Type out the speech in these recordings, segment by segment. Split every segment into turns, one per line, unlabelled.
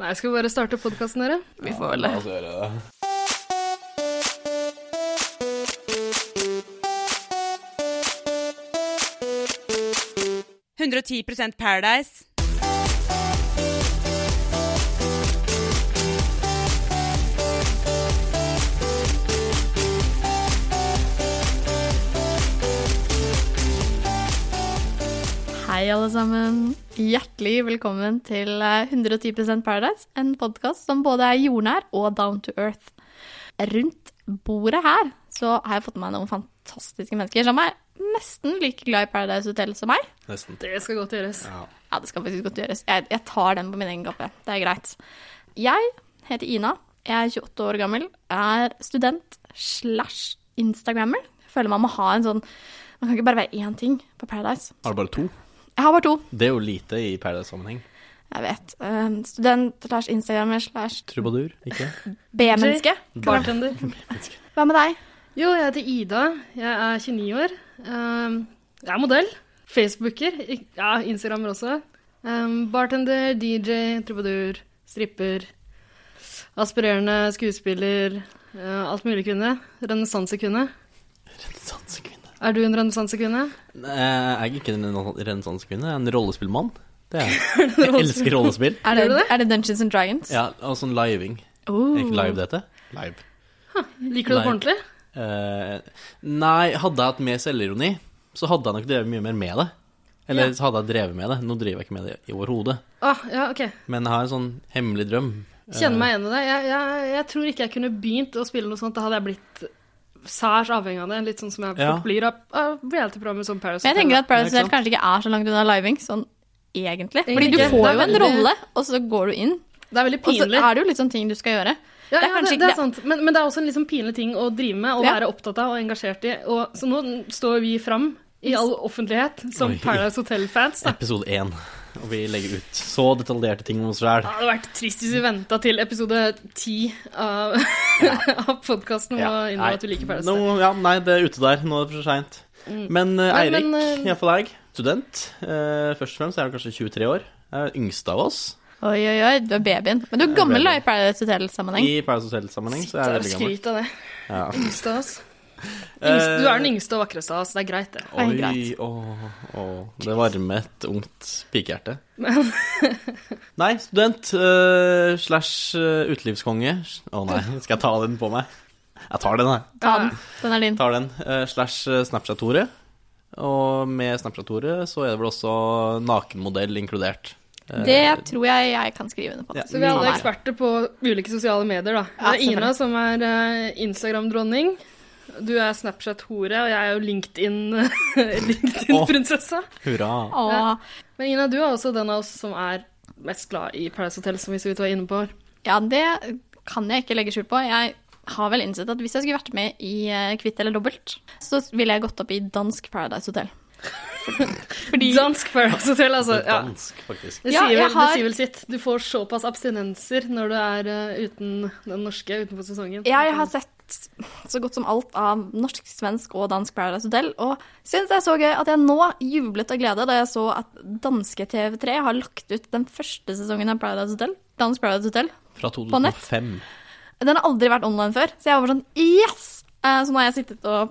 Nei, skal vi bare starte podkasten, dere?
Vi får vel
La
det.
oss gjøre det.
Nei. 110 Paradise.
Hei, alle sammen. Hjertelig velkommen til eh, 110 Paradise, en podkast som både er jordnær og down to earth. Rundt bordet her så har jeg fått med meg noen fantastiske mennesker som er nesten like glad i Paradise Hotel som meg.
Nesten.
Det skal godt gjøres.
Ja, det skal faktisk godt gjøres. Jeg, jeg tar den på min egen kappe. Det er greit. Jeg heter Ina. Jeg er 28 år gammel. Er student slash instagrammer. Jeg føler man må ha en sånn Man kan ikke bare være én ting på Paradise.
Har du bare to?
Jeg har bare to.
Det er jo lite i Paradise-sammenheng.
Jeg vet. Ehm, student slash instagrammer slash
Trubadur, ikke?
B-menneske.
Bartender.
Hva med deg?
Jo, jeg heter Ida. Jeg er 29 år. Ehm, jeg er modell. Facebooker. Ik- Ja, Instagrammer også. Ehm, bartender, DJ, trubadur, stripper. Aspirerende skuespiller. eh, alt mulig kvinne. Renessansekvinne.
Renessansekvinne.
Er du en renessansekvinne?
Nei, Jeg er ikke en renessansekvinne, jeg er en rollespillmann. Det er jeg. Jeg elsker rollespill.
Er
Gjør du
det,
det?
er det Dungeons and Dragons?
Ja, og sånn living.
Oh.
Er ikke live det heter?
Live.
Liker du det på
Nei.
ordentlig?
Eh, nei, hadde jeg hatt mer selvironi, så hadde jeg nok drevet mye mer med det. Eller så hadde jeg drevet med det. Nå driver jeg ikke med det i overhodet.
Ah, ja, ok.
Men jeg har en sånn hemmelig drøm.
Kjenner
Eh.
meg igjen i det. Jeg, jeg, jeg tror ikke jeg kunne begynt å spille noe sånt. Da hadde jeg blitt særs avhengig av det. Litt sånn som jeg
Ja.
fort blir av, av reality-programmer som Paris
Men jeg tenker at Paradise
Nei,
Hotel
ikke
kanskje ikke er så langt unna living, sånn egentlig. Fordi
Egentlig
du
ikke.
får
Det er
jo en
veldig-
rolle, og så går du inn.
Det er veldig
Og så
pinlig.
er det jo litt sånn ting du skal gjøre.
Ja,
det er
ja,
kanskje
det,
ikke
det er
det-
sant. Men, men det er også en liksom pinlig ting å drive med, å
Ja.
være opptatt av og engasjert i. Og, så nå står vi fram i all offentlighet som
Oi.
Paradise Hotel-fans. da.
Eh, Episode én. Og vi legger ut så detaljerte ting om oss sjæl.
Det hadde vært trist hvis vi venta til episode ti av, av podkasten om å innrømme at vi liker Paradise Hotel.
ja, nei, det er ute der. Nå er det for seint. Men eh,
Nei,
Eirik,
men, eh,
iallfall jeg, student. eh, først og fremst er du kanskje 23 år. Er yngst av oss.
Oi, oi, oi, du er babyen. Men du er gammel da,
babyen.
i Paradise Hotel-sammenheng.
I Paradise Hotel-sammenheng så
Det
er
er
jeg veldig gammel. Eh,
skryt av det.
Ja.
Yngste av oss. Yngste, du er den yngste og vakreste av oss. Det er greit, det.
Nei,
Oi,
greit.
åh, åh. Det varmer et ungt pikehjerte. nei, student eh, slash eh, utelivskonge Å nei, skal jeg ta den på meg? Jeg tar den, jeg.
Ta den. Den er din.
Tar den. eh, slash eh, Snapchat-Tore. Og med Snapchat-Tore så er det vel også nakenmodell inkludert. Eh,
Det tror jeg jeg kan skrive under på.
Ja.
Så vi er alle
Nei.
eksperter på ulike sosiale medier, da.
Ja,
det er Ina som er eh, Instagram-dronning. Du er Snapchat-hore, og jeg er jo LinkedIn- LinkedIn-prinsessa.
Hurra.
Åh,
Men Ina, du er også den av oss som er mest glad i Paradise Hotel, som vi så vidt var inne på.
ja, det kan jeg ikke legge skjul på. Jeg har vel innsett at hvis jeg skulle vært med i eh, Kvitt eller dobbelt, så ville jeg gått opp i dansk Paradise Hotel. Fordi
Dansk Paradise Hotel, altså. Ja.
Dansk, faktisk.
Det,
Ja,
sier
jeg
vel,
har-
det sier vel sitt. Du får såpass abstinenser når du er eh, uten den norske utenfor sesongen.
Jeg har sett så godt som alt av norsk, svensk og dansk Paradise Hotel, og syns det er så gøy at jeg nå jublet av glede da jeg så at danske TV3 har lagt ut den første sesongen av Paradise Hotel. Dansk Paradise Hotel.
Fra
nett.
2005.
Den har aldri vært online før, så jeg var sånn yes! Eh, Så nå har jeg sittet og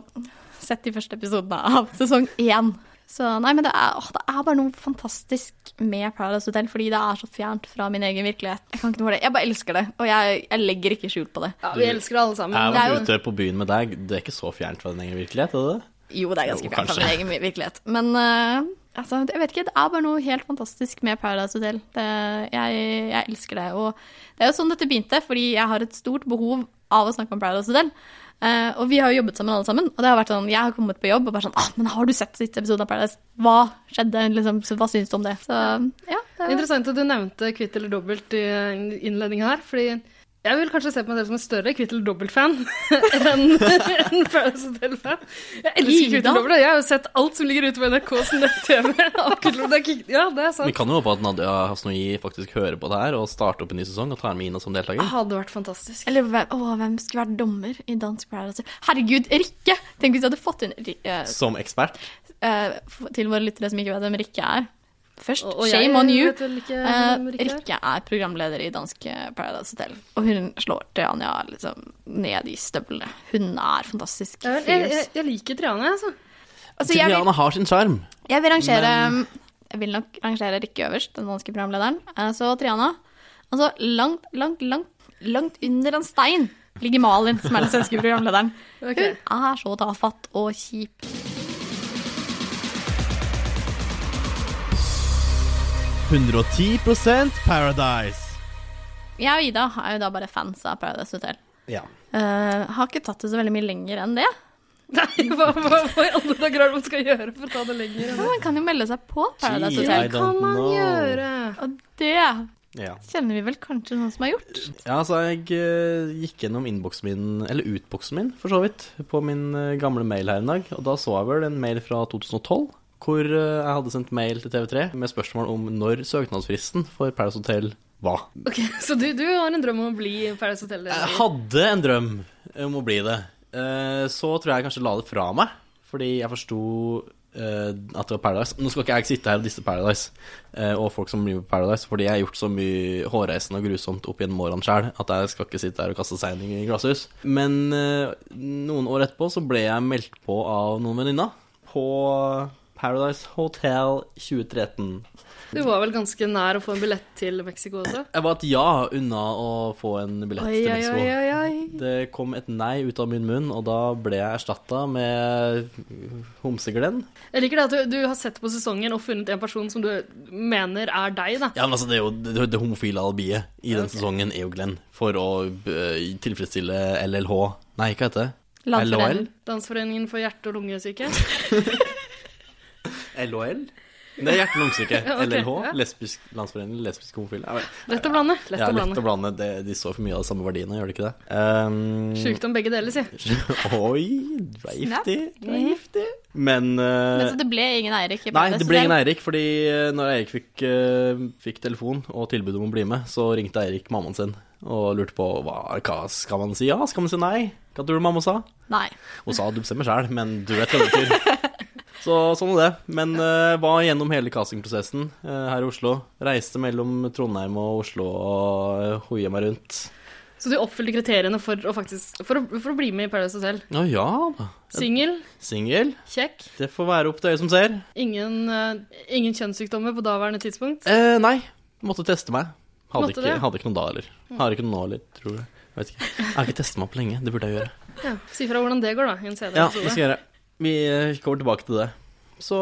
sett de første episodene av sesong én. Så nei, men det er, åh, det er bare noe fantastisk med Paradise Hotel, fordi det er så fjernt fra min egen virkelighet. Jeg kan ikke noe for det. Jeg bare elsker det, og jeg, jeg legger ikke skjul på det.
Ja, vi elsker alle sammen.
Jeg
Mm, det
var
er jo-
ute på byen med deg. Det er ikke så fjernt fra din egen virkelighet, er det det?
Jo, det er ganske
Jo,
fjernt fra
kanskje.
min egen virkelighet. Men eh, altså, jeg vet ikke, det er bare noe helt fantastisk med Paradise Hotel. Det, jeg, jeg elsker det. Og det er jo sånn dette begynte, fordi jeg har et stort behov av å snakke om Paradise Hotel. Eh, og vi har jo jobbet sammen alle sammen, og det har vært sånn, jeg har kommet på jobb og bare sånn, ah, men har du sett siste episoden av Paradise? Hva skjedde? Liksom, så, hva synes du om det? Så ja, det er jo
Interessant at du nevnte kvitt eller dobbelt i innledningen her, fordi jeg vil kanskje se på meg selv som en større kvitt eller dobbelt-fan enn en Paradise Hotel-fan. Jeg elsker kvitt
Ida?
eller dobbelt, og jeg har jo sett alt som ligger ute på NRKs nett-TV. av Kvitt eller Dobbelt. Ja, det er
Vi
sant.
kan jo håpe at Nadia Hasnoi faktisk hører på det her og starter opp en ny sesong og tar med Ina som deltaker.
Det
Ah.
hadde vært fantastisk.
Eller hvem, å, hvem skulle vært dommer i Dansk Paradise Hotel? Herregud, Rikke! Tenk hvis du hadde fått inn eh, Rikke.
Som ekspert.
eh, f- til våre lyttere som ikke vet hvem Rikke er. Først,
Og- og jeg
shame on you.
vet vel ikke
Eh,
hvem Rikke er.
Rikke er programleder i danske Paradise Hotel, og hun slår til Anja liksom ned i støvlene. Hun er fantastisk
Jeg, jeg, jeg, jeg liker Triana, jeg, altså.
Altså, jeg, vil,
Triana har sin sjarm.
jeg vil rangere Jeg vil nok rangere Rikke øverst, den danske programlederen. Eh, Så Triana. Altså langt, langt, langt, langt under en stein ligger Malin, som er den svenske programlederen.
Ok.
Hun er så tafatt og kjip.
Paradise.
Jeg og Ida er jo da bare fans av Paradise Hotel.
Ja.
Eh, har ikke tatt det så veldig mye lenger enn det.
Nei, hva, hva, hva i alle dager er det man skal gjøre for å ta det lenger?
Men man kan jo melde seg på Paradise
Gee,
Hotel.
Hva
I don't
kan man
know.
gjøre?
Og det
Ja.
kjenner vi vel kanskje noen som har gjort.
Ja, altså jeg eh, gikk gjennom innboksen min, eller utboksen min for så vidt, på min eh, gamle mail her en dag, og da så jeg vel en mail fra 2012, hvor eh, jeg hadde sendt mail til TV3 med spørsmål om når søknadsfristen for Paradise Hotel var.
Ok, Så du, du har en drøm om å bli Paradise Hotel-deltaker?
Jeg hadde en drøm om å bli det. Eh, Så tror jeg jeg kanskje la det fra meg, fordi jeg forsto eh, at det var Paradise. Nå skal ikke jeg sitte her og disse Paradise eh, og folk som blir med på Paradise, fordi jeg har gjort så mye hårreisende og grusomt opp gjennom årene sjøl at jeg skal ikke sitte her og kaste seiling i glasshus. Men eh, noen år etterpå så ble jeg meldt på av noen venninner på Paradise Hotel 2013.
Du var vel ganske nær å få en billett til Mexico også?
Jeg var et ja unna å få en billett til Mexico. Det kom et nei ut av min munn, og da ble jeg erstatta med homseglenn.
Jeg liker det at du, du har sett på sesongen og funnet en person som du mener er deg, da.
Ja, men altså, det er jo det, det homofile alibiet i den sesongen er jo Glenn for å eh, tilfredsstille LLH Nei, hva heter det? LHL?
Landsforeningen.
Landsforeningen for hjerte- og lungesyke.
LHL? Det er hjerte-lungesyke.
Ja, ok,
LLH?
ja.
Lesbisk Landsforening lesbisk homofile. Ja, vel.
Lett å blande. Lett
Ja,
å
lett å
blande.
blande. Det, de står for mye av de samme verdiene, gjør de ikke det? Um,
Sjukt om begge deler, si.
Oi, du er giftig. Du
Mm.
er giftig. Men eh,
Men så det ble ingen Eirik i
Nei,
Paradise
det ble ingen
Hotel.
Eirik, fordi eh, når Eirik fikk, eh, fikk telefon og tilbud om å bli med, så ringte Eirik mammaen sin og lurte på hva, hva skal man si ja, skal man si nei? Hva tror du mamma sa?
Nei.
Hun sa du bestemmer sjæl, men du vet hva det betyr. Så sånn er det. Men eh, var gjennom hele castingprosessen eh, her i Oslo. Reiste mellom Trondheim og Oslo og eh, hoia meg rundt.
Så du oppfylte kriteriene for å, faktisk, for å, for å bli med i Paradise Hotel.
Å ja da.
Singel,
Singel.
kjekk,
Det får være opp til øyet som ser.
ingen, eh, ingen kjønnssykdommer på daværende tidspunkt.
Eh, nei, måtte teste meg. Hadde
Måtte
ikke,
det?
hadde ikke noen da heller. Har ikke noen nå heller, tror jeg. Jeg Vet ikke. Jeg har ikke testet meg på lenge. Det burde jeg gjøre.
Ja. Si fra hvordan det går, da, i en
Ja, det skal
CD-episode.
jeg gjøre. Vi eh, kommer tilbake til det. Så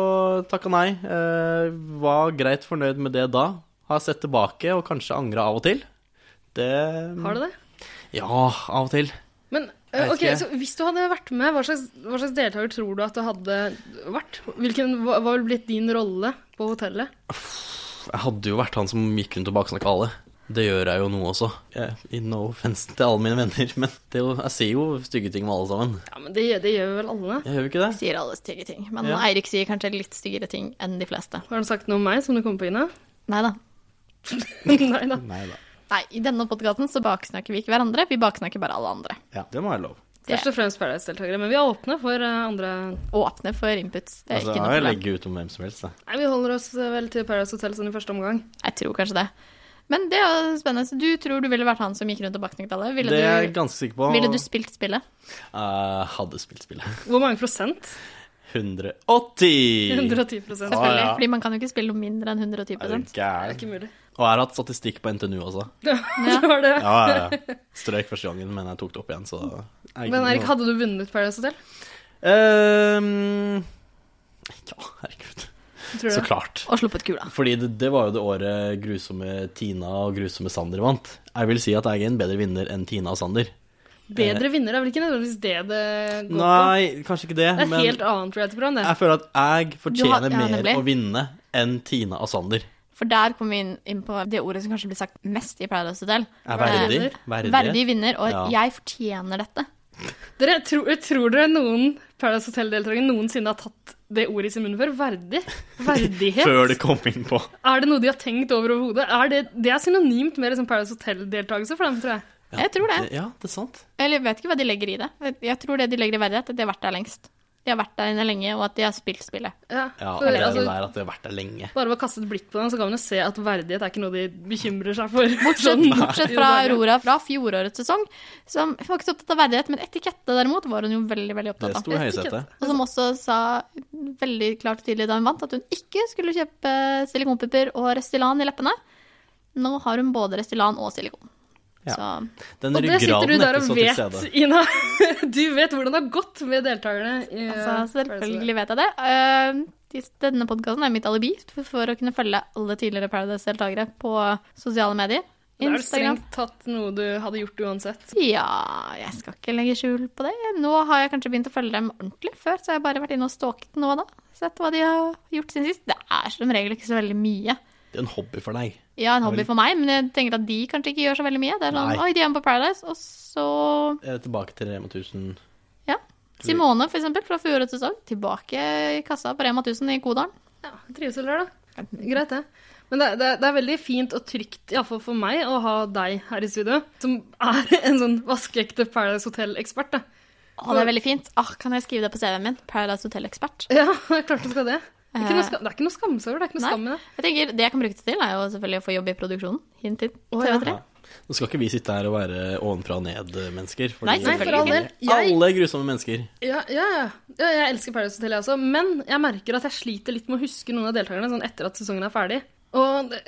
takka nei. Eh, var greit fornøyd med det da. Har sett tilbake og kanskje angra av og til. Det
Har du det?
Ja, av og til.
Men
Jeg
eh,
vet
ok,
ikke.
så hvis du hadde vært med, hva slags, hva slags deltaker tror du at du hadde vært? Hvilken, hva, hva ville blitt din rolle på hotellet?
Jeg hadde jo vært han som gikk rundt og baksnakka alle. Det gjør jeg jo nå også. Jeg, I no offense til alle mine venner, men det er jo, jeg sier jo stygge ting med alle sammen.
Ja, men det, gjør- det gjør vel alle.
Jeg gjør jo ikke det?
Sier alle stygge ting. Men
Ja.
Eirik sier kanskje litt styggere ting enn de fleste.
Har du sagt noe om meg som du kommer på, Ina?
Nei da.
Nei da.
Nei da.
Nei, i denne podkasten så baksnakker vi ikke hverandre, vi baksnakker bare alle andre.
Ja, det må jeg lov.
Det
Først og fremst Paradise-deltakere, men vi er åpne for eh, andre
Åpne for inputs. Det er
Altså,
ikke
jeg
noe problem.
legger ut om hvem som helst, jeg.
Nei, vi holder oss eh, vel til Paradise Hotel sånn i første omgang.
Jeg tror kanskje det. Men det er jo spennende. Så du tror du ville vært han som gikk rundt og baksnakket alle? Ville,
det er jeg
du,
ganske sikker på.
ville du spilt spillet?
Jeg hadde spilt spillet.
Hvor mange prosent?
180!
110 prosent.
Å,
Selvfølgelig.
ja.
Fordi man kan jo ikke spille noe mindre enn 110
Er du
Det er
gæren?
ikke mulig.
Og jeg har hatt statistikk på NTNU også.
Det var det.
Ja, ja, ja. Strøk første gangen, men jeg tok det opp igjen, så jeg-
Men Erik, hadde du vunnet Paradise Hotel?
Ehm, Ja, herregud.
Tror du
Så
det?
klart.
Og sluppet kula.
Fordi det, det var jo det året grusomme Tina og grusomme Sander vant. Jeg vil si at jeg er en bedre vinner enn Tina og Sander.
Bedre vinner er vel ikke nødvendigvis det det går på?
Eh. Nei, kanskje ikke det,
Det er et
men
helt annet reality-program, det.
jeg føler at jeg
har-
fortjener
ja,
mer
nemlig.
å vinne enn Tina og Sander.
For der kommer vi inn, inn på det ordet som kanskje blir sagt mest i Paradise Hotel.
Er
Verdig.
verdig. Verdig.
Verdig Eh, vinner, og
Ja.
jeg fortjener dette.
Dere, tro, tror dere noen Paradise Hotel-deltakere noensinne har tatt det ordet i sin munn før? Verdig? Verdighet?
Før det kom inn på.
Er det noe de har tenkt over overhodet? Er det, det er synonymt med liksom Paradise Hotel-deltakelse for dem, tror jeg.
Jeg tror det.
Ja, det er sant.
Eller jeg vet ikke hva de legger i det. Jeg tror det de legger i verdighet, det har vært der lengst. de har vært der inne lenge, og at de har spilt spillet.
Ja,
Ja,
for,
allerede
altså,
der at det har vært der lenge.
Bare ved å kaste et blikk på den, så kan man jo se at verdighet er ikke noe de bekymrer seg for.
Bortsett,
Sånn.
bortsett fra Aurora fra fjorårets sesong, som hun var ikke så opptatt av verdighet, men etikette derimot var hun jo veldig veldig
Det
opptatt av.
sto i høysetet.
Og som også sa veldig klart og tydelig da hun vant, at hun ikke skulle kjøpe silikonpupper og Restylan i leppene. Nå har hun både Restylan og silikon.
Ja.
Så
Den
Og det sitter du
ryggraden
der
er ikke
og
så til
vet,
stede.
Ina. Du vet hvordan det har gått med deltakerne. i,
altså,
eh, Paradise.
selvfølgelig vet jeg det. Eh, de- Denne podkasten er mitt alibi for for å kunne følge alle tidligere Paradise-deltakere på sosiale medier.
Det er
Instagram.
strengt tatt noe du hadde gjort uansett.
Ja, jeg skal ikke legge skjul på det. Nå har jeg kanskje begynt å følge dem ordentlig. Før så har jeg bare vært inne og stalket nå og da. Sett hva de har gjort siden sist. Det er som regel ikke så veldig mye.
Det er en hobby for deg.
Ja, en hobby
Vel-
for meg, men jeg tenker at de kanskje ikke gjør så veldig mye. Det er sånn,
Nei.
oi, de er med på Paradise, og så
Eh, Tilbake til Rema 1000.
Ja. Simone, for eksempel, fra fjorårets sesong. Tilbake i kassa på Rema 1000 i Kodalen.
Ja, Trivsel der, da. Greit, det. Men det, det, det er veldig fint og trygt, iallfall for meg, å ha deg her i studio, som er en sånn vaskeekte Paradise Hotel-ekspert. da.
Å, det er veldig fint. Ah, kan jeg skrive det på CV-en min? Paradise Hotel-ekspert.
Ja, det er klart du skal det. Det er ikke
Eh.
noe, skam, det er ikke noe skamsår, det er ikke noe
Nei.
skam i det.
Jeg tenker, Det jeg kan bruke det til, er jo selvfølgelig å få jobb i produksjonen. Hint, hint.
Å, ja.
TV3.
Ja. Nå skal ikke vi sitte her og være ovenfra og ned-mennesker.
Nei,
Nei, for all del. Jeg-
Alle grusomme mennesker.
Ja, ja, ja. ja jeg elsker Paradise Hotel, jeg også. Men jeg merker at jeg sliter litt med å huske noen av deltakerne sånn etter at sesongen er ferdig. Og det,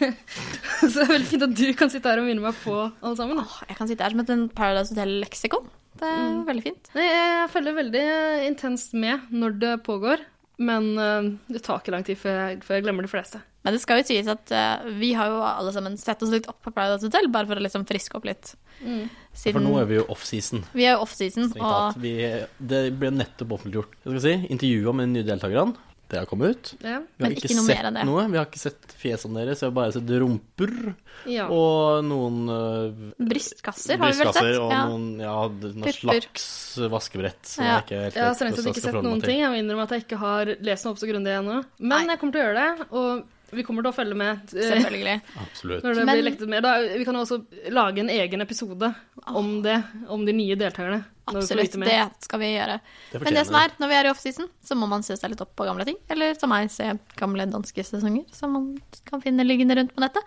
Så det er veldig fint at du kan sitte her og minne meg på alle sammen. Da.
Åh, jeg kan sitte her som et en Paradise Hotel-leksikon. Det er
Mm.
veldig fint.
Nei, Jeg følger veldig intenst med når det pågår, men eh, det tar ikke lang tid før jeg, før jeg glemmer de fleste.
Men det skal jo sies at eh, vi har jo alle sammen sett oss litt opp på Paradise Hotel, bare for å liksom friske opp litt.
For
Mm.
Siden
nå er vi jo offseason.
vi er jo offseason,
strengt
og
tatt. Vi- Det ble nettopp offentliggjort. Hva skal jeg si? Intervjuet med de nye deltakerne. Det har kommet ut.
Ja.
Vi har
Men ikke noe mer
sett
enn det.
noe. Vi har ikke sett fjesene deres, vi har bare sett rumper
Ja.
og noen øh,
Brystkasser har vi vel
brystkasser
sett.
og
Ja.
noen, ja, noen
Pupper.
slags vaskebrett. som
Ja.
jeg ikke helt
Jeg har
vet
sånn
strengt
hvordan
sett ikke
jeg skal
sett
forholde meg
noen
til.
ting. Jeg må innrømme at jeg ikke har lest meg opp så grundig ennå.
Nei.
Men jeg kommer til å gjøre det, og vi kommer til å følge med eh,
Selvfølgelig.
Absolutt.
når det
Men-
blir lekt ut mer. Da, vi kan jo også lage en egen episode om det, om de nye deltakerne. når vi får
Absolutt.
vite mer.
Det skal vi gjøre.
Det
Men det som
fortjener
er, når vi er i offseason, så må man se seg litt opp på gamle ting. Eller som meg, se gamle danske sesonger som man kan finne liggende rundt på nettet.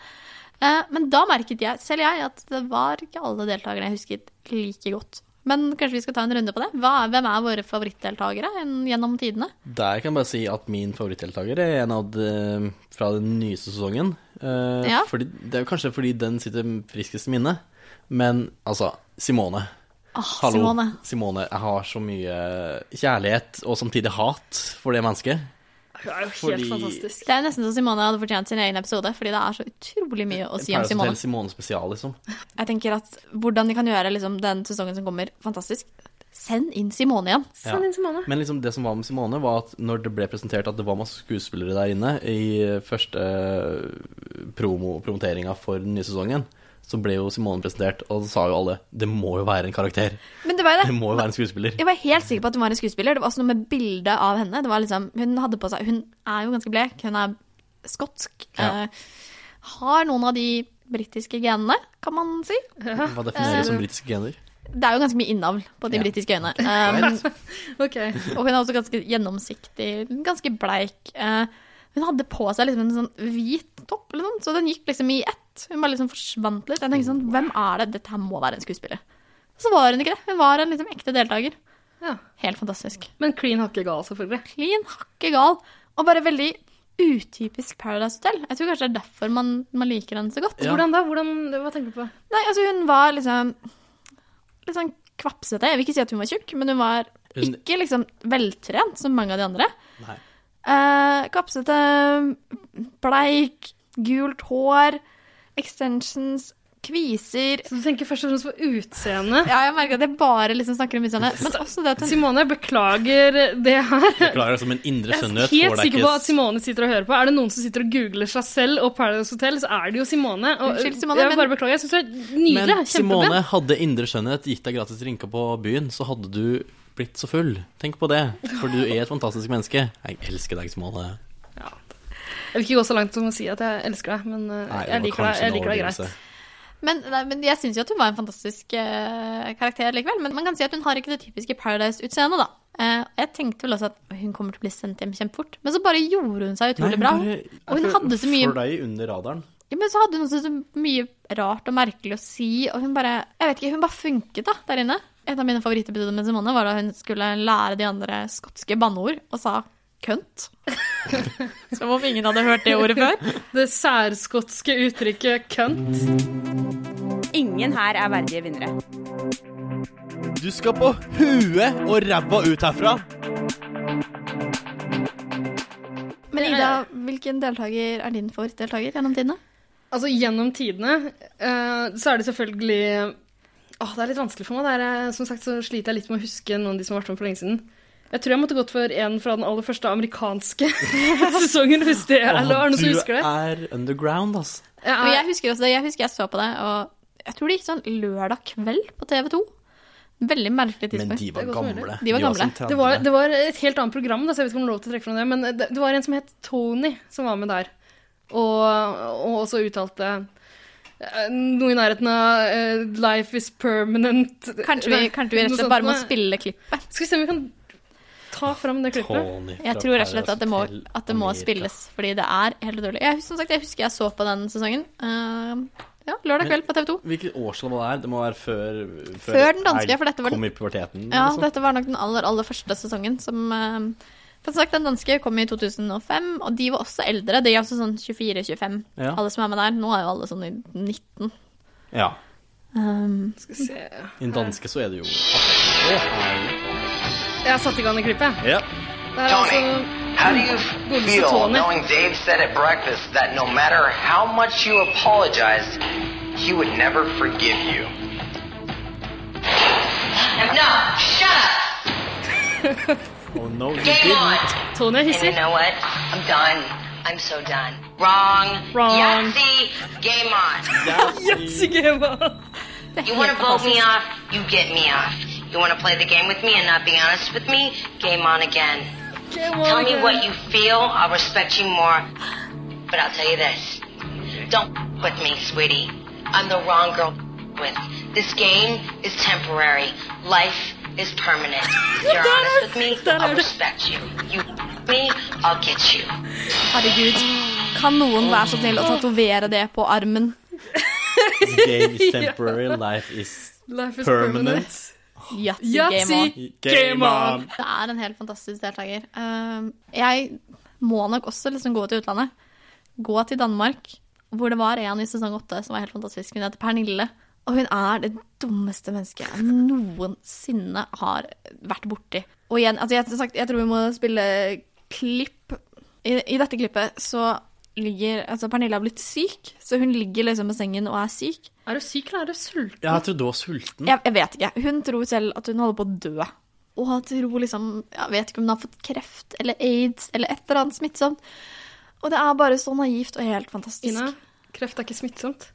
Eh, Men da merket jeg, selv jeg, at det var ikke alle deltakerne jeg husket like godt. Men kanskje vi skal ta en runde på det? Hva, hvem er våre favorittdeltakere en- gjennom tidene?
Der kan jeg bare si at min favorittdeltaker er en av de, fra den nye sesongen. Eh,
Ja.
fordi, det er jo kanskje fordi den sitter friskest i minnet. Men altså, Simone.
Åh,
Hallo. Simone.
Simone.
jeg har så mye kjærlighet og samtidig hat for det mennesket.
Hun er jo helt
Fordi-
fantastisk.
Det er nesten så Simone hadde fortjent sin egen episode, fordi det er så utrolig mye å si om
Paradise
Simone.
Hotel Simone spesial, liksom.
Jeg tenker at hvordan de kan gjøre liksom, den sesongen som kommer, fantastisk. Send Sånn inn Simone igjen.
Send inn Simone.
Men liksom det som var med Simone, var at når det ble presentert at det var masse skuespillere der inne i første eh, promo, promoteringa for den nye sesongen, så ble jo Simone presentert, og så sa jo alle det må jo være en karakter.
Men det var jo
Det
det.
må jo være en skuespiller.
Jeg var helt sikker på at hun var en skuespiller. Det var også noe med bildet av henne. Det var liksom, hun hadde på seg Hun er jo ganske blek. Hun er skotsk.
Ja.
eh, har noen av de britiske genene, kan man si.
Hva defineres som britiske gener?
Det er jo ganske mye innavl på de
Ja.
britiske øynene. Um,
Ok.
og hun er også ganske gjennomsiktig, ganske bleik. Eh, hun hadde på seg liksom en sånn hvit topp, eller noe, sånt, så den gikk liksom i ett. Hun bare liksom forsvant litt. Jeg tenkte sånn, hvem er det? Dette her må være en skuespiller. Og så var hun ikke det. Hun var en liksom ekte deltaker.
Ja.
Helt fantastisk.
Men clean hakke gal, selvfølgelig.
klin hakke gal. Og bare veldig utypisk Paradise Hotel. Jeg tror kanskje det er derfor man, man liker henne så godt.
Ja.
Hvordan da? Hvordan, hva tenker du på?
Nei, altså hun var liksom litt sånn kvapsete. Jeg vil ikke si at hun var tjukk, men hun var
Hun-
ikke liksom veltrent som mange av de andre.
Nei.
Eh, kvapsete, bleik, gult hår, extensions, kviser.
Så du tenker først og fremst på utseendet?
Ja, jeg merker at jeg bare liksom snakker om utseendet, men også det at hun
Simone, beklager det her.
Klarer som en indre
Jeg
skjønnhet.
er helt sikker på at Simone sitter og hører på. Er det noen som sitter og googler seg selv og Paradise Hotel, så er det jo Simone. Og
Unnskyld, Simone,
jeg
men-
bare beklager. Jeg syns du er nydelig.
Men
Kjempebra.
Simone hadde indre skjønnhet, gitt deg gratis drinker på byen, så hadde du blitt så full. Tenk på det, for du er et fantastisk menneske. Jeg elsker deg, Simone.
Jeg vil ikke gå så langt som å si at jeg elsker deg, men uh,
Nei, det
jeg liker
var
deg,
kanskje en
jeg liker deg greit.
overdrivelse.
Men, nei, men jeg syns jo at hun var en fantastisk eh, karakter likevel. Men man kan si at hun har ikke det typiske Paradise-utseendet, da. Eh, jeg tenkte vel også at hun kommer til å bli sendt hjem kjempefort. Men så bare gjorde hun seg utrolig bra. og hun hadde så mye
Fløy under radaren.
ja, Men så hadde hun også så mye rart og merkelig å si, og hun bare Jeg vet ikke, hun bare funket, da, der inne. Et av mine favorittepisoder med Simone var da hun skulle lære de andre skotske banneord, og sa kønt. Som om ingen hadde hørt det ordet før.
Det særskotske uttrykket kønt.
Ingen her er verdige vinnere.
Du skal på huet og ræva ut herfra!
Men Ida, hvilken deltaker er din favorittdeltaker gjennom tidene?
Altså, gjennom tidene eh, så er det selvfølgelig Åh, det er litt vanskelig for meg. Det er, eh, som sagt så sliter jeg litt med å huske noen av de som har vært med for lenge siden. Jeg tror jeg måtte gått for en fra den aller første amerikanske sesongen, hvis det er eller er det noen som husker det.
Du er underground, ass.
Jeg
Og
er-
jeg husker også det, jeg husker jeg så på det, og jeg tror det gikk sånn lørdag kveld på TV 2. Veldig merkelig
Men
tidspunkt.
de var
Det er godt mulig.
gamle.
De var gamle.
sånn
Det var,
30.
det var et helt annet program, da, så jeg vet ikke om det er lov til å trekke fram det. Men det, det var en som het Tony, som var med der. Og, og også uttalte eh, noe i nærheten av eh, 'Life is permanent'.
Kanskje vi, kanskje vi rett og
Noe
slett
sånt
bare må
noe.
spille klippet.
Skal vi se om vi kan ta fram det klippet.
Tony fra
Jeg tror rett og slett at det må,
Paradise
at det må
Hotel America.
spilles, fordi det er helt utrolig. Jeg, som sagt, jeg husker jeg så på den sesongen. eh, ja, lørdag kveld på TV 2.
Hvilket årslag var det her? Det må være før Før,
Før den danske,
jeg
for dette var den-
Kom i puberteten?
Ja,
liksom.
dette var nok den aller, aller første sesongen som eh, For som sagt, den danske kom i 2005, og de var også eldre. De er også sånn 24-25,
Ja.
alle som er med der. Nå er jo alle sånn i 19.
ja.
Um,
Skal vi se.
I den danske så er det jo Det er-
Jeg har satt i gang det klippet.
Ja.
Det er
Tony,
altså
How do you
Good
feel
Tony.
knowing Dave said at breakfast that no matter how much you apologized, he would never forgive you?
No, shut up.
Oh no, you
Game on.
didn't.
Tony er
And you
hissig.
know what? I'm done. I'm so done. Wrong.
Wrong.
Yahtzee, game on.
Yes, Gemma.
You want to vote me off? You get me off. You want to play the game with me and not be honest with me? Game on again.
Gemma
Tell me
again.
what you feel. I'll respect you more. But I'll tell you this. Don't with me, sweetie. I'm the wrong girl with. This game is temporary. Life is permanent. If you're honest with me, I'll respect you. You me, I'll get you.
Herregud, kan noen være så snill å tatovere det på armen?
Game is temporary, life is
Life is
permanent.
Yatzy game on.
Yatzy. Game on.
Det er en helt fantastisk deltaker. Um, jeg må nok også liksom gå til utlandet. Gå til Danmark, hvor det var en i sesong åtte som var helt fantastisk. Hun heter Pernille. Og hun er det dummeste mennesket jeg noensinne har vært borti. Og igjen, altså jeg, som sagt, jeg tror vi må spille klipp. I, i dette klippet så ligger Altså, Pernille har blitt syk, så hun ligger liksom på sengen og er syk.
Er du syk, eller er du sulten?
Ja, jeg trodde du var sulten.
Jeg, jeg vet ikke. Hun tror selv at hun holder på å dø. Mm. Og hun tror liksom Jeg vet ikke om hun har fått kreft eller aids eller et eller annet smittsomt. Og det er bare så naivt og helt fantastisk.
Ina, kreft er ikke smittsomt.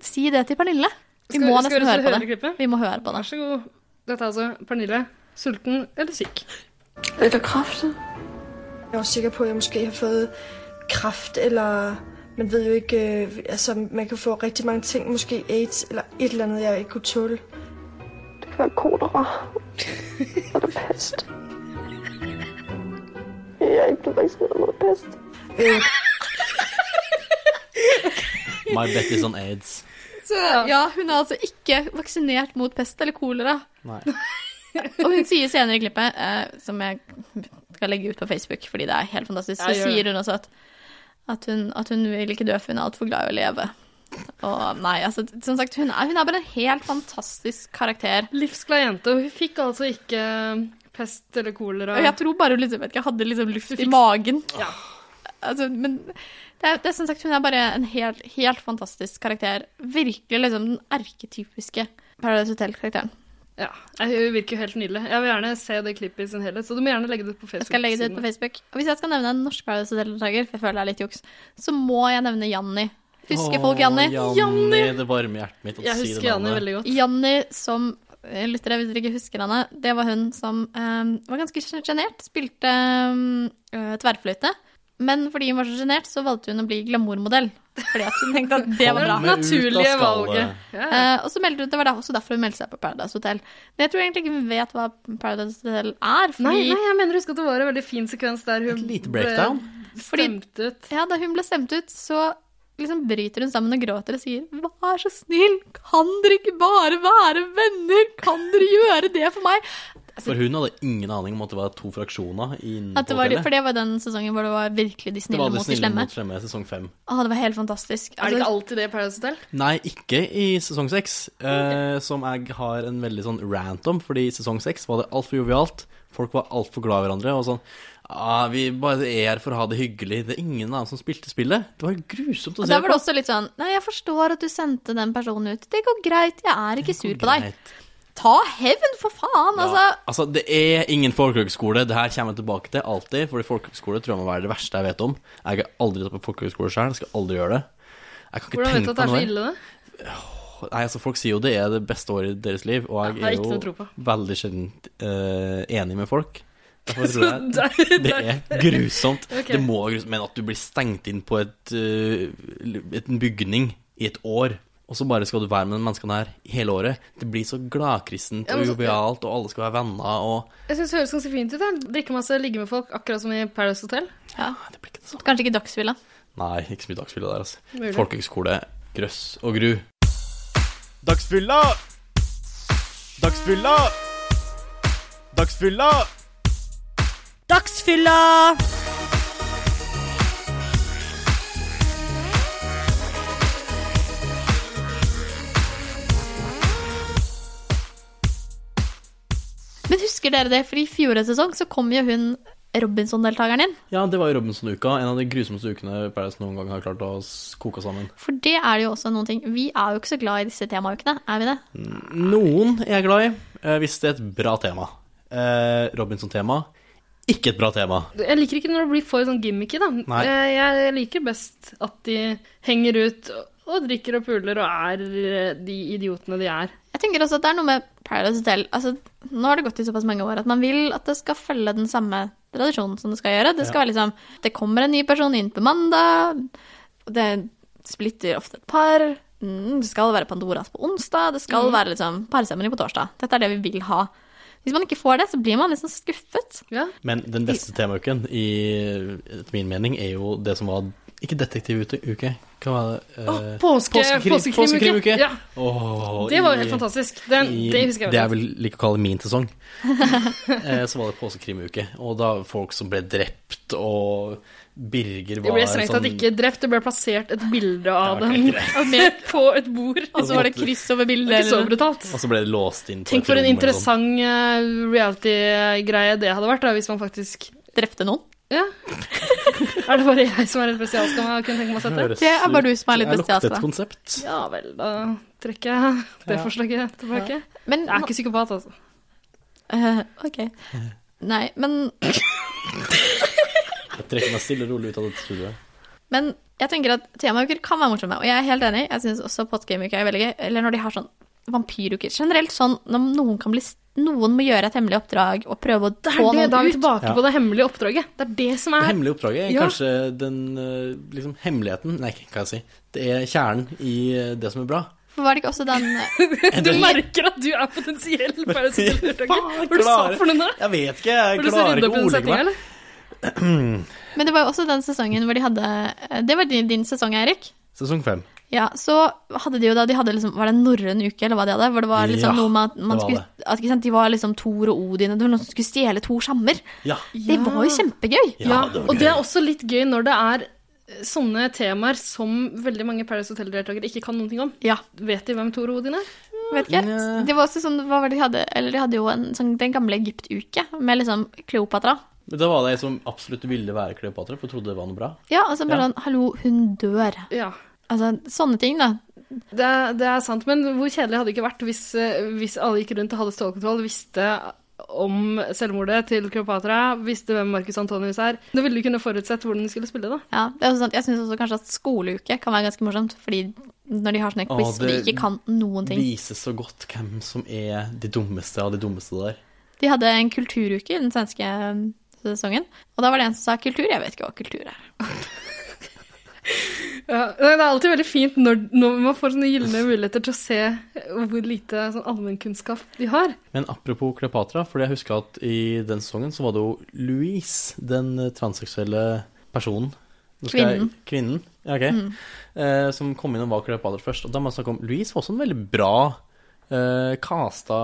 Si det til Pernille. Vi
Skal-
må
skal
nesten
vi
høre på
høre
det.
klippet?
Vi må høre på det.
Vær så god. Dette er altså Pernille. Sulten eller syk?
Er du kraftet?
Jeg var sikker på, at jeg måske har fået kraft, eller man ved jo ikke, øh, altså man kan få rigtig mange ting, måske AIDS, eller et eller andet, jeg ikke kunne tåle.
Det kan være kolera. Og det er pest. Jeg er ikke blevet vaccineret mod pest.
Øh,
My bet is on aids.
Ja, hun er altså ikke vaksinert mot pest eller kolera.
Nei.
Og hun sier senere i klippet, eh, som jeg skal legge ut på Facebook fordi det er helt fantastisk, så
Ja, gjør det.
sier hun også at, at, hun, at hun vil ikke dø, for hun er altfor glad i å leve. Og nei, altså, som sagt, hun er, hun er bare en helt fantastisk karakter.
Livsglad jente. og Hun fikk altså ikke pest eller kolera.
Og jeg tror bare hun liksom, vet ikke, hadde liksom luft i
fikk-
magen.
Ja.
Altså, men det er, det er som sagt, hun er bare en helt, helt fantastisk karakter. Virkelig liksom den arketypiske Paradise Hotel-karakteren.
Ja, Hun virker jo helt nydelig. Jeg vil gjerne se det klippet i sin helhet, så du må gjerne legge det ut på Facebook.
Jeg skal legge det ut på Facebook. Og hvis jeg skal nevne en norsk Paradise-deltaker, for jeg føler det er litt juks, så må jeg nevne Janni. Husker
Åh,
folk Janni?
Janni! Det varmer hjertet mitt å
Jeg
si
husker
det
Janni
navnet.
veldig godt.
Janni som eh, Lyttere, hvis dere ikke husker henne, det var hun som eh, var ganske sjenert. Spilte eh, mm, tverrfløyte. Men fordi hun var så sjenert, så valgte hun å bli glamourmodell. Fordi at hun tenkte at det
Det
var bra.
var det
Kommer ut av
naturlige
skallet.
valget. Ja, ja.
Eh, og så meldte hun, Det var da, også derfor hun meldte seg på Paradise Hotel. Men jeg tror egentlig ikke hun vet hva Paradise Hotel er. Fordi,
Nei, nei, jeg mener husk at det var en veldig fin sekvens der hun
Et lite breakdown.
ble stemt ut.
Ja, Da hun ble stemt ut, så liksom bryter hun sammen og gråter og sier Vær så snill, kan dere ikke bare være venner? Kan dere gjøre det for meg? Altså,
For hun hadde ingen aning om at det var to fraksjoner inne
At det
på
var,
hotellet.
for det var den sesongen hvor det var virkelig de
Det
snille
var det
mot de
snille
slemme.
mot slemme i sesong fem.
Å, det var helt fantastisk.
Er det
Altså,
ikke alltid det i Paradise Hotel?
Nei, ikke i sesong seks, eh, som jeg har en veldig sånn rant om. Fordi i sesong seks var det altfor jovialt. Folk var altfor glad i hverandre. Og sånn ah, 'Vi bare er her for å ha det hyggelig.' Det er ingen annen som spilte spillet. Det var grusomt å
og
se
da var det også litt sånn Nei, jeg forstår at du sendte den personen ut. Det går greit, jeg er ikke sur på deg.
Greit.
Ta hevn, for faen!
Ja,
Altså,
altså, det er ingen folkehøgskole. Det her kommer jeg tilbake til alltid. Fordi folkehøgskole tror jeg må være det verste jeg vet om. Jeg har aldri tatt på folkehøgskole sjøl. Skal aldri gjøre det. Jeg kan ikke
Hvordan vet du at
tenke
det er
på
så
noe
ille? da?
Nei, altså Folk sier jo det er det beste året i deres liv, og jeg
Ja, det er
er
ikke noe å tro
jo
på.
veldig sjelden eh, enig med folk. Derfor tror jeg
Så der-
det
der-
er grusomt.
Ok.
Det må være grusomt. Men at du blir stengt inn på et, eh, et, en bygning i et år, og så bare skal du være med de menneskene her hele året Det blir så gladkrissent
Ja,
og
men så-
jovialt, og alle skal være venner, og
Jeg syns det høres ganske fint ut. jeg. Drikke masse, ligge med folk, akkurat som i Paradise Hotel.
Nei, det blir ikke det samme.
kanskje ikke Dagsfylla.
Nei, ikke så mye dagsfylla der, altså.
Mulig.
Folkehøgskole, grøss og gru. Dagsfylla! Dagsfylla! Dagsfylla!
Dagsfylla!
Men husker dere det, for i fjorårets sesong så kom jo hun Robinson-deltakeren inn.
Ja, det var jo Robinson-uka. En av de grusomste ukene Paradise noen gang har klart å s- koke sammen.
For det er det jo også noen ting Vi er jo ikke så glad i disse temaukene, er vi det?
Noen er jeg glad i, eh, hvis det er et bra tema. Eh, Robinson-tema ikke et bra tema.
Jeg liker ikke når det blir for sånn gimmicky, da.
Nei.
Eh, Jeg liker best at de henger ut og drikker og puler og er eh, de idiotene de er.
Jeg tenker også at det er noe med Paradise Hotel altså, Nå har det gått i såpass mange år at man vil at det skal følge den samme tradisjonen som det skal gjøre. Det skal være liksom Det kommer en ny person inn på mandag, og det splitter ofte et par. Mm, det skal være Pandoras på onsdag, det skal være liksom parseremoni på torsdag. Dette er det vi vil ha. Hvis man ikke får det, så blir man liksom skuffet.
Ja.
Men den beste temauken, i etter min mening, er jo det som var Ikke detektivuke, hva var det? Eh,
Påske,
påskekrim-
påskekrimuke. Ja,
Åh,
det var jo
i-
helt fantastisk. Den,
i
det husker jeg. veldig
det jeg vil like å kalle min sesong. Eh, så var det påskekrimuke, og da var folk som ble drept, og
Det
Birger var sånn-
ble strengt tatt ikke drept, det ble plassert et bilde av
Ja, ok,
dem med på et bord.
Og så var det kryss over
Det er
bildet.
ikke så
eller noe.
brutalt.
Og så ble det låst inn på
Tenk
et
for en
rom eller sånn.
interessant eh, reality-greie det hadde vært, da, hvis man faktisk
Drepte noen.
Ja. er det bare jeg som er helt bestialsk og kunne tenke meg å sette?
Høres
Det er bare du som er
ut-
litt
Jeg lukter
bestialsk, da.
et konsept.
Ja vel, da trekker jeg det forslaget tilbake.
Men
Jeg er ikke psykopat, altså.
Eh, ok. Nei, men,
Jeg trekker meg stille og rolig ut av dette studioet.
men jeg tenker at temauker kan være morsomme, og jeg er helt enig. Jeg syns også potgameuker er veldig gøy. Eller når de har sånn vampyruker. Generelt sånn når noen kan bli Noen må gjøre et hemmelig oppdrag og prøve å
Det
få
er det, da er vi
noen ut.
tilbake
Ja.
på det hemmelige oppdraget. Det er det som
Det
er
hemmelige oppdraget er
Ja.
kanskje den eh, liksom, hemmeligheten Nei, hva kan jeg si? Det er kjernen i eh, det som er bra.
For var det ikke også den
Du merker at du er potensiell parasitelldeltaker.
Faen,
Hva var det du sa
klarer-
for noe nå?
Jeg vet ikke, jeg
Var du så
klarer
rydda
ikke
opp i
å
den
ordlegge
setninga,
meg.
eller?
Men det var jo også den sesongen hvor de hadde Det var din, din sesong, Eirik.
Sesong fem.
Ja, så hadde de jo da de hadde liksom, Var det en norrøn uke, eller hva de hadde? Hvor det var liksom
Ja,
noe med at
det
man
var
skulle at, ikke sant, De var liksom Thor og Odin, og det var noen som skulle stjele to skjammer.
Ja.
Det var jo kjempegøy.
Ja,
det var
og
gøy.
det er også litt gøy når det er eh, sånne temaer som veldig mange Paris Hotel-deltakere ikke kan noen ting om.
Ja.
Vet de hvem Tor og Odin er?
Vet ikke.
Nja.
Det var også sånn, hva var det de hadde? Eller de hadde jo en sånn Den gamle Egypt-uke med liksom Kleopatra.
Men da var det ei som absolutt ville være Kleopatra, for trodde det var noe bra.
Ja, og så
Ja.
bare sånn Hallo, hun dør.
Ja.
Altså, sånne ting, da.
Det er, det er sant, men hvor kjedelig hadde det ikke vært hvis, eh, hvis alle gikk rundt og hadde stålkontroll, visste om selvmordet til Kleopatra, visste hvem Marcus Antonius er. Da ville du kunne forutsett hvordan du skulle spille, da.
Ja, det er også sant. Jeg syns også kanskje at skoleuke kan være ganske morsomt, fordi når de har sånne
Å,
quiz og de
det-
ikke kan noen ting.
Viser så godt hvem som er de dummeste av de dummeste der.
De hadde en kulturuke i den svenske um, sesongen. Og da var det en som sa kultur. Jeg vet ikke hva kultur er.
Ja, nei, det er alltid veldig fint når, når man får sånne gylne muligheter til å se hvor lite sånn allmennkunnskap de har.
Men apropos Kleopatra, fordi jeg husker at i den sesongen så var det jo Louise, den transseksuelle personen. Nå skal jeg-
Kvinnen.
kvinnen ja, ok.
Mm.
Eh, som kom inn og var Kleopatra først. Og da må jeg snakke om Louise var også en veldig bra eh, casta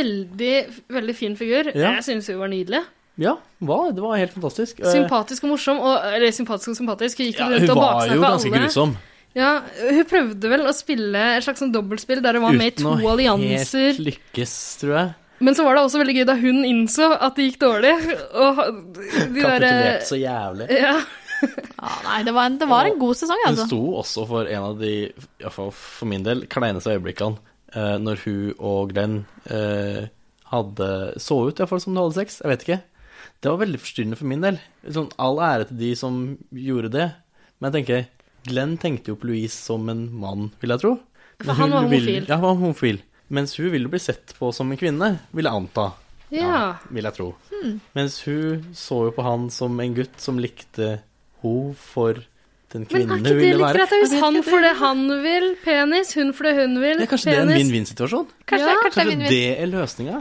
Veldig, veldig fin figur.
Ja.
Jeg synes hun var nydelig.
Ja, hun var, det var helt fantastisk. Eh,
Sympatisk og morsom. Og, eller sympatisk og sympatisk. Hun gikk
ja,
jo
hun
rundt og
var jo
baksnakka
ganske
alle.
grusom.
Ja, hun prøvde vel å spille et slags sånn dobbeltspill der hun var med i to allianser.
helt lykkes, tror jeg.
Men så var det også veldig gøy da hun innså at det gikk dårlig. Og de
Kapitulerte
derre
så jævlig.
ja,
Ah, nei, det var, en, det var en god sesong,
Hun
altså.
sto også for en av de, i hvert fall for min del, kleineste øyeblikkene eh, når hun og Glenn eh, hadde så ut, iallfall som de hadde sex. Jeg vet ikke. Det var veldig forstyrrende for min del. Sånn, all ære til de som gjorde det. Men jeg tenker, Glenn tenkte jo på Louise som en mann, vil jeg tro. Men
For han var
hun vil-
homofil.
Ja, han var homofil. Mens hun ville bli sett på som en kvinne, vil jeg anta.
ja.
Vil jeg tro.
Hmm.
Mens hun så jo på han som en gutt som likte hun for
Men
den kvinnen
er ikke det
hun ville
litt
være.
greit? da? Hvis han får det han vil, penis, hun får det hun vil,
Ja, kanskje det er en
penis
vinn-vinn-situasjon?
Ja.
Kanskje, kanskje det er
Kanskje
vinn-vinn.
det er løsninga?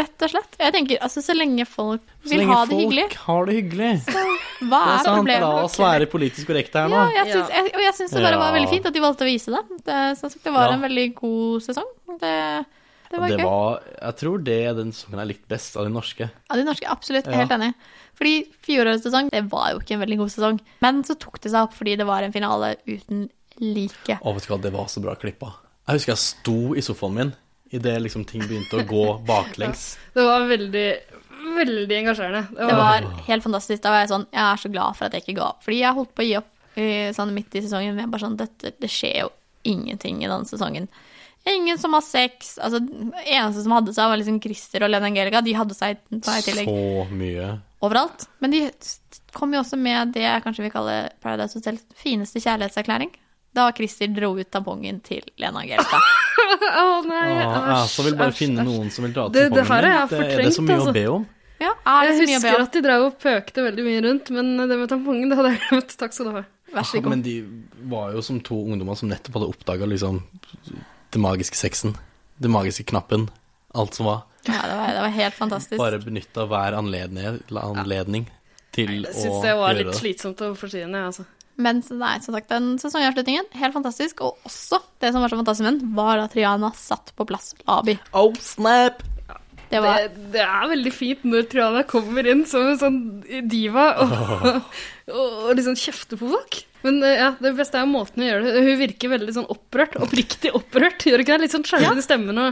Rett og slett. Jeg tenker, altså, Så lenge folk
Så
vil
lenge
ha det
folk
hyggelig,
har det hyggelig. Det
hva
er
er
sant.
problemet?
La oss være politisk korrekte her
Ja,
nå.
jeg syns, jeg, og jeg syns det bare var
Ja.
veldig fint at de valgte å vise det. Det, som sagt, det var
Ja.
en veldig god sesong. Det, det var
Det
gøy.
var, jeg tror det er den sesongen jeg likte best av de norske.
Ja, de norske, absolutt.
Ja.
Helt enig. Fordi fjorårets sesong, det var jo ikke en veldig god sesong. Men så tok det seg opp fordi det var en finale uten like.
Å, vet du hva, det var så bra klippa. Jeg husker jeg sto i sofaen min idet liksom ting begynte å gå baklengs.
Det var veldig, veldig engasjerende. Det
Det
var,
var helt fantastisk. Da var jeg sånn Jeg er så glad for at jeg ikke ga opp. Fordi jeg holdt på å gi opp eh, sånn midt i sesongen. Men jeg bare sånn Dette det skjer jo ingenting i denne sesongen. Ingen som har sex. Altså, eneste som hadde seg, var liksom Christer og Lene Angelica. De hadde seg da i tillegg.
Så mye.
overalt. Men de kom jo også med det jeg kanskje vil kalle Paradise Hotels fineste kjærlighetserklæring. Da Christer dro ut tampongen til Lena Angelica.
Å nei,
Åh, jeg
æsj,
også vil bare
æsj,
finne
æsj.
noen som vil dra til
Det- det her har jeg
Det er det så
fortrengt,
mye
altså.
å be om.
Ja, er Ah, det
Jeg
så mye å be
husker
om?
at de drev og pøkte veldig mye rundt, men det med tampongen, det hadde jeg glemt. Takk skal du ha.
Vær så god.
Men de var jo som to ungdommer som nettopp hadde oppdaga liksom det magiske sexen. Det magiske knappen. Alt som var.
Ja, det, var, det var helt fantastisk.
Bare benytta hver anledning, anledning til
Jeg
å
syns det var
gjøre
litt
det.
slitsomt å forsyne, jeg, altså.
Men så- nei, som sagt, den sesongavslutningen, helt fantastisk. Og også det som var så fantastisk med den, var at Triana satt på plass Labi.
Oh, snap!
Det var
Det, det er veldig fint når Triana kommer inn som en sånn diva og, og, og liksom kjefter på folk. Men eh, ja, det beste er jo måten hun gjør det Hun virker veldig sånn opprørt. Oppriktig opprørt. Gjør hun ikke det? Litt sånn skjelven i stemmen og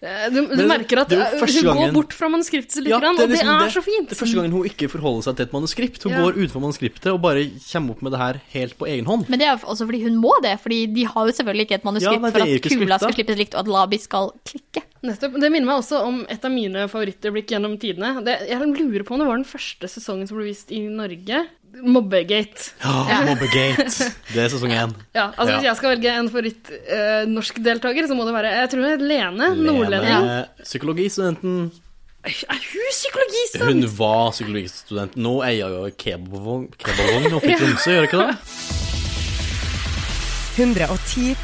eh, du, du
Men
merker at
det er jo
eh,
første
hun
gangen-
går bort fra manuskriptet litt, grann, og det er så fint.
Det er første gangen hun ikke forholder seg til et manuskript. Hun
Ja.
går utenfor manuskriptet og bare kommer opp med det her helt på egen hånd.
Men det er jo også fordi hun må det, fordi de har jo selvfølgelig ikke et manuskript
Ja, nei, det
for
er jo
at
ikke
kula
skriptet.
skal slippes likt, og at Labi skal klikke.
Nettopp. Det minner meg også om et av mine favorittøyeblikk gjennom tidene. Det, jeg lurer på om det var den første sesongen som ble vist i Norge. Mobbegate.
Ja, Mobbegate. Det er sesong én.
Ja, altså
Ja.
Hvis jeg skal velge en favoritt eh, norsk deltaker, så må det være Jeg tror det er Lene, nordlending.
Lene, eh, psykologistudenten.
Er hun psykologistudent?
Hun var psykologistudent. Nå eier hun jo kebabvogn kebabvogn oppe i Tromsø, gjør hun ikke det?
110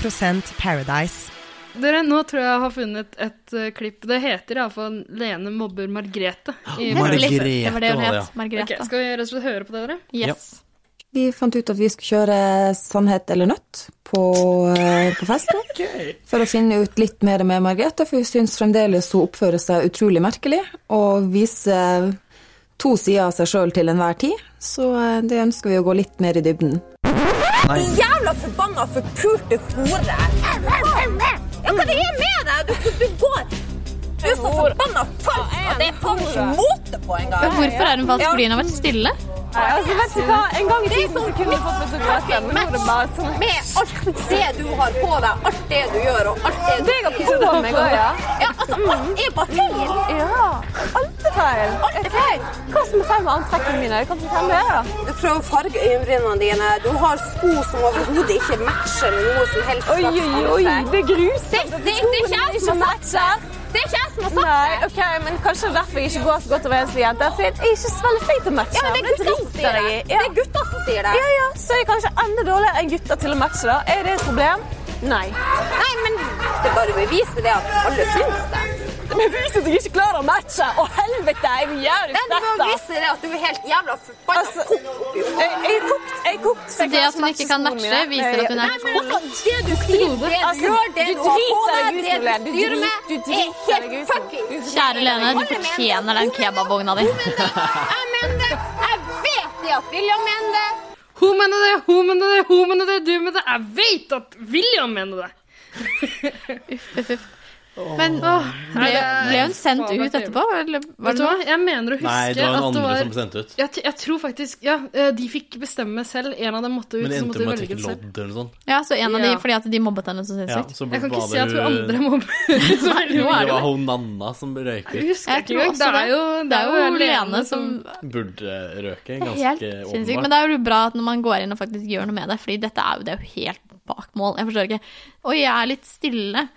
Paradise.
Dere, nå tror jeg jeg har funnet et eh, klipp. Det heter iallfall 'Lene mobber Margrethe'. I
Margrethe.
Paradise.
Det var det hun
var det,
het. Margrethe.
Ok, skal vi rett og slett høre på det, dere?
Yes.
Vi fant ut at vi skulle kjøre Sannhet eller nøtt på, eh, på festen. For å finne ut litt mer med Margrethe, for vi syns fremdeles hun oppfører seg utrolig merkelig og viser to sider av seg sjøl til enhver tid. Så eh, det ønsker vi å gå litt mer i dybden.
Jævla forbanna forpulte hore! Ja, hva det er med deg? Du, du går Du er så forbanna falsk at jeg tar ikke mote på
Men
engang!
Hvorfor er hun falsk? Fordi hun har vært stille?
altså, En gang i tiden kunne vi fått fotografer, men nå er det bare sånn Med alt det du har på deg, alt det du gjør, og alt det du gjør meg òg, ja. Altså, alt er bare feil. Ja. Alt er feil. Alt er feil. Hva som er feil med antrekkene mine? Hva som er feil med det, da? Du prøver å farge øyenbrynene dine. Du har sko som overhodet ikke matcher med noe som helst. Oi, oi, oi, det er grusomt. Det, det, det er ikke jeg som matcher. Det er ikke jeg som har sagt
Nei, det. Okay, men Kanskje derfor jeg ikke går så godt overens med jenter. For jeg er ikke så veldig flink til å matche.
Ja, men det er gutter som sier det.
Ja.
Det er gutter som sier det.
Ja, ja, Så er jeg kanskje enda dårligere enn gutter til å matche. da. Er det et problem? Nei.
Nei, men det er bare å bevise det at alle syns det.
Det beviser at jeg ikke klarer å matche. Å, helvete! Jeg er jævlig
stressa. Du må bevise det at du er helt jævla forbanna altså, kokt i hodet.
Jeg er kokt. Jeg er kokt.
Så det at hun ikke kan matche, viser at hun er kokt?
Det du sier, det du gjør, det du har på deg, det du styrer med, er helt fuckings
Kjære Lene, du fortjener den kebabvogna di.
Jeg mener det. Jeg vet det at William mener det.
Hun mener det, hun mener det, hun mener det, du mener det. Jeg vet at William mener det.
uff, uff, uff. Men åh, ble, ble, hun sendt ut etterpå? Eller
Vet du hva, jeg mener å huske
Nei, det var
at
den
det
andre
var
som ble sendt ut.
jeg, jeg tror faktisk Ja, eh, de fikk bestemme selv. En av dem måtte ut,
Men det
så
endte
måtte
med
de
å
velge
trekke
det
lodd
selv.
eller noe sånt.
Ja, så en av de
Ja.
fordi at de mobbet henne så sinnssykt?
så
Jeg kan
var
ikke si
det
at
jo-
hun andre mobber så veldig
Det
mye.
var hun Nanna som røyk
Jeg
ut.
husker
Jeg
ikke
tror
engang. Det
også
er jo, det er jo Lene som
Burde røke,
Helt
ganske
sinnssykt. Men
åpenbart.
det er jo bra at når man går inn og faktisk gjør noe med det, fordi dette er jo, det er jo helt bak mål. Jeg forstår ikke. Oi, jeg er litt stille.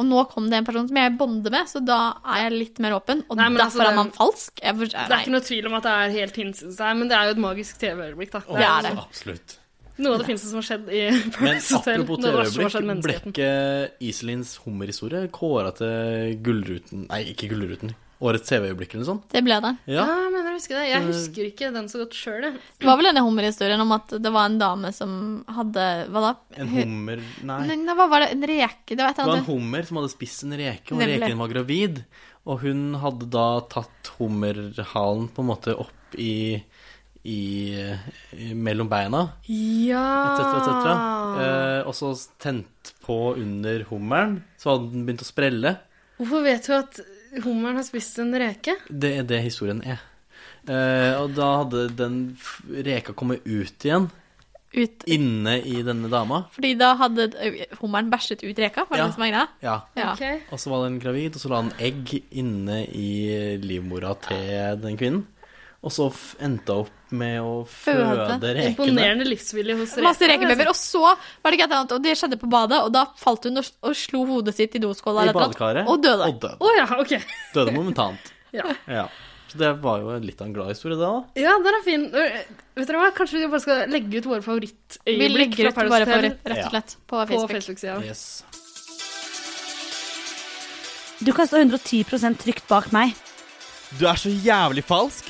Og nå kom det en person som jeg bonder med, så da er jeg litt mer åpen. Og
Nei, men altså,
derfor
det-
er man falsk. Jeg forstår,
Det er ikke noe tvil om at det er helt hinsides der, men det er jo et magisk TV-øyeblikk, da.
Det er det.
Absolutt.
Noe av det fineste som har skjedd i
Men
Paradise Hotel.
apropos
Noe av det verste som har skjedd
TV-øyeblikk, ble
menneskeheten.
ikke Iselins hummerhistorie kåra til Gullruten Nei, ikke Gullruten. Årets TV-øyeblikk eller noe sånt?
Det ble det.
Ja,
Ja.
jeg mener å huske det. Jeg husker ikke den så godt sjøl, jeg.
Det var vel denne hummerhistorien om at det var en dame som hadde Hva da?
En hummer Nei.
Nei, nei, hva var det? En reke? Det var et
Det var
eller
en
annet.
hummer som hadde spist en reke, og
Nemlig.
reken var gravid. Og hun hadde da tatt hummerhalen på en måte opp i, i, i mellom beina, etc., etc.
Ja
Eh, og så tent på under hummeren, så hadde den begynt å sprelle.
Hvorfor vet du at hummeren har spist en reke?
Det er det historien er. Eh, og da hadde den f- reka kommet ut igjen,
Ut,
inne i denne dama.
fordi da hadde ø, hummeren bæsjet ut reka, var det
Ja.
det som var greia?
Ja.
Ja.
Ok.
Og så var den gravid, og så la den egg inne i livmora til den kvinnen. Og så f- endte hun opp med å føde
Føde.
rekene.
Imponerende livsvilje hos reker.
Masse rekebabyer. Og så var det ikke et eller annet, og det skjedde på badet, og da falt hun og, og slo hodet sitt i doskåla
I
eller et eller annet,
badekaret.
og døde.
Og døde.
Å ja, ok.
døde momentant.
Ja.
Ja. Så det var jo litt av en glad historie, det da.
ja, den er fin. Øh, Vet dere hva? Kanskje vi bare skal legge ut våre
Vi
favorittøyeblikk
legger
fra
ut
Paradise
bare for,
Hotel
rett
Ja.
og slett, på
på
Facebook.
Facebook-sida.
Yes.
Du kan stå 110 trygt bak meg.
Du er så jævlig falsk.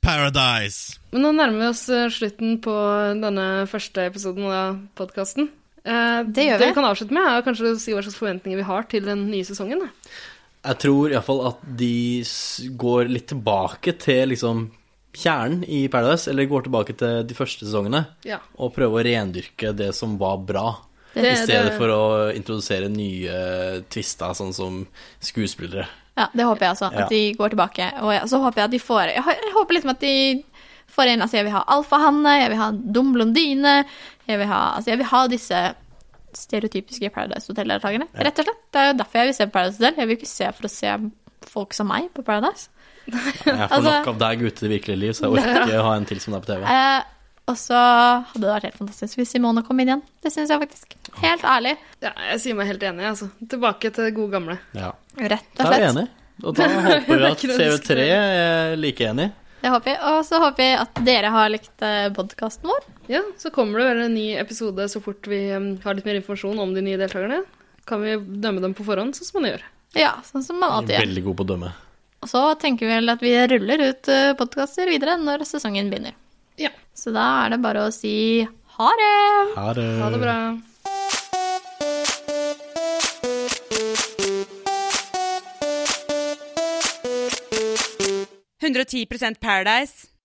Paradise.
Men nå nærmer vi oss eh, slutten på denne første episoden av podkasten.
Det gjør
Det
vi.
vi kan avslutte med, er kanskje å si hva slags forventninger vi har til den nye sesongen. da.
Jeg tror iallfall at de s- går litt tilbake til liksom kjernen i Paradise, eller går tilbake til de første sesongene,
Ja.
og prøver å rendyrke det som var bra. I
Det-
stedet
det-
for å introdusere nye twister, sånn som skuespillere.
Ja, det håper jeg også,
Ja.
at de går tilbake. Og jeg, så håper jeg at de får Jeg, har- jeg håper liksom at de får inn Altså, jeg vil ha alfahanne, jeg vil ha en dum blondine, jeg vil ha Altså, jeg vil ha disse stereotypiske Paradise Hotel-deltakerne, rett og slett. Det er jo derfor jeg vil se på Paradise Hotel. Jeg vil ikke se for å se folk som meg på Paradise.
Jeg får
Altså-
nok av deg ute i det virkelige liv, så jeg orker ikke å ha en til som deg på TV.
Eh, og så hadde det vært helt fantastisk hvis Simone kom inn igjen. Det syns jeg faktisk. Helt ærlig.
Ja, jeg sier meg helt enig. altså. Tilbake til det gode gamle.
Ja.
Rett
Da
og
er vi
slett.
enige. Og da håper vi at
Det er ikke noe å
TV3 er like enig.
Det håper jeg. Og så håper jeg at dere har likt podkasten vår.
Ja, Så kommer det vel en ny episode så fort vi eh, har litt mer informasjon om de nye deltakerne. Kan vi dømme dem på forhånd, sånn som man gjør.
Ja, sånn som man alltid gjør.
Veldig god på å dømme.
Og så tenker vi vel at vi ruller ut podkaster videre når sesongen begynner.
Ja.
Så da er det bare å si ha det!
Ha det.
Ha det bra.
Paradise.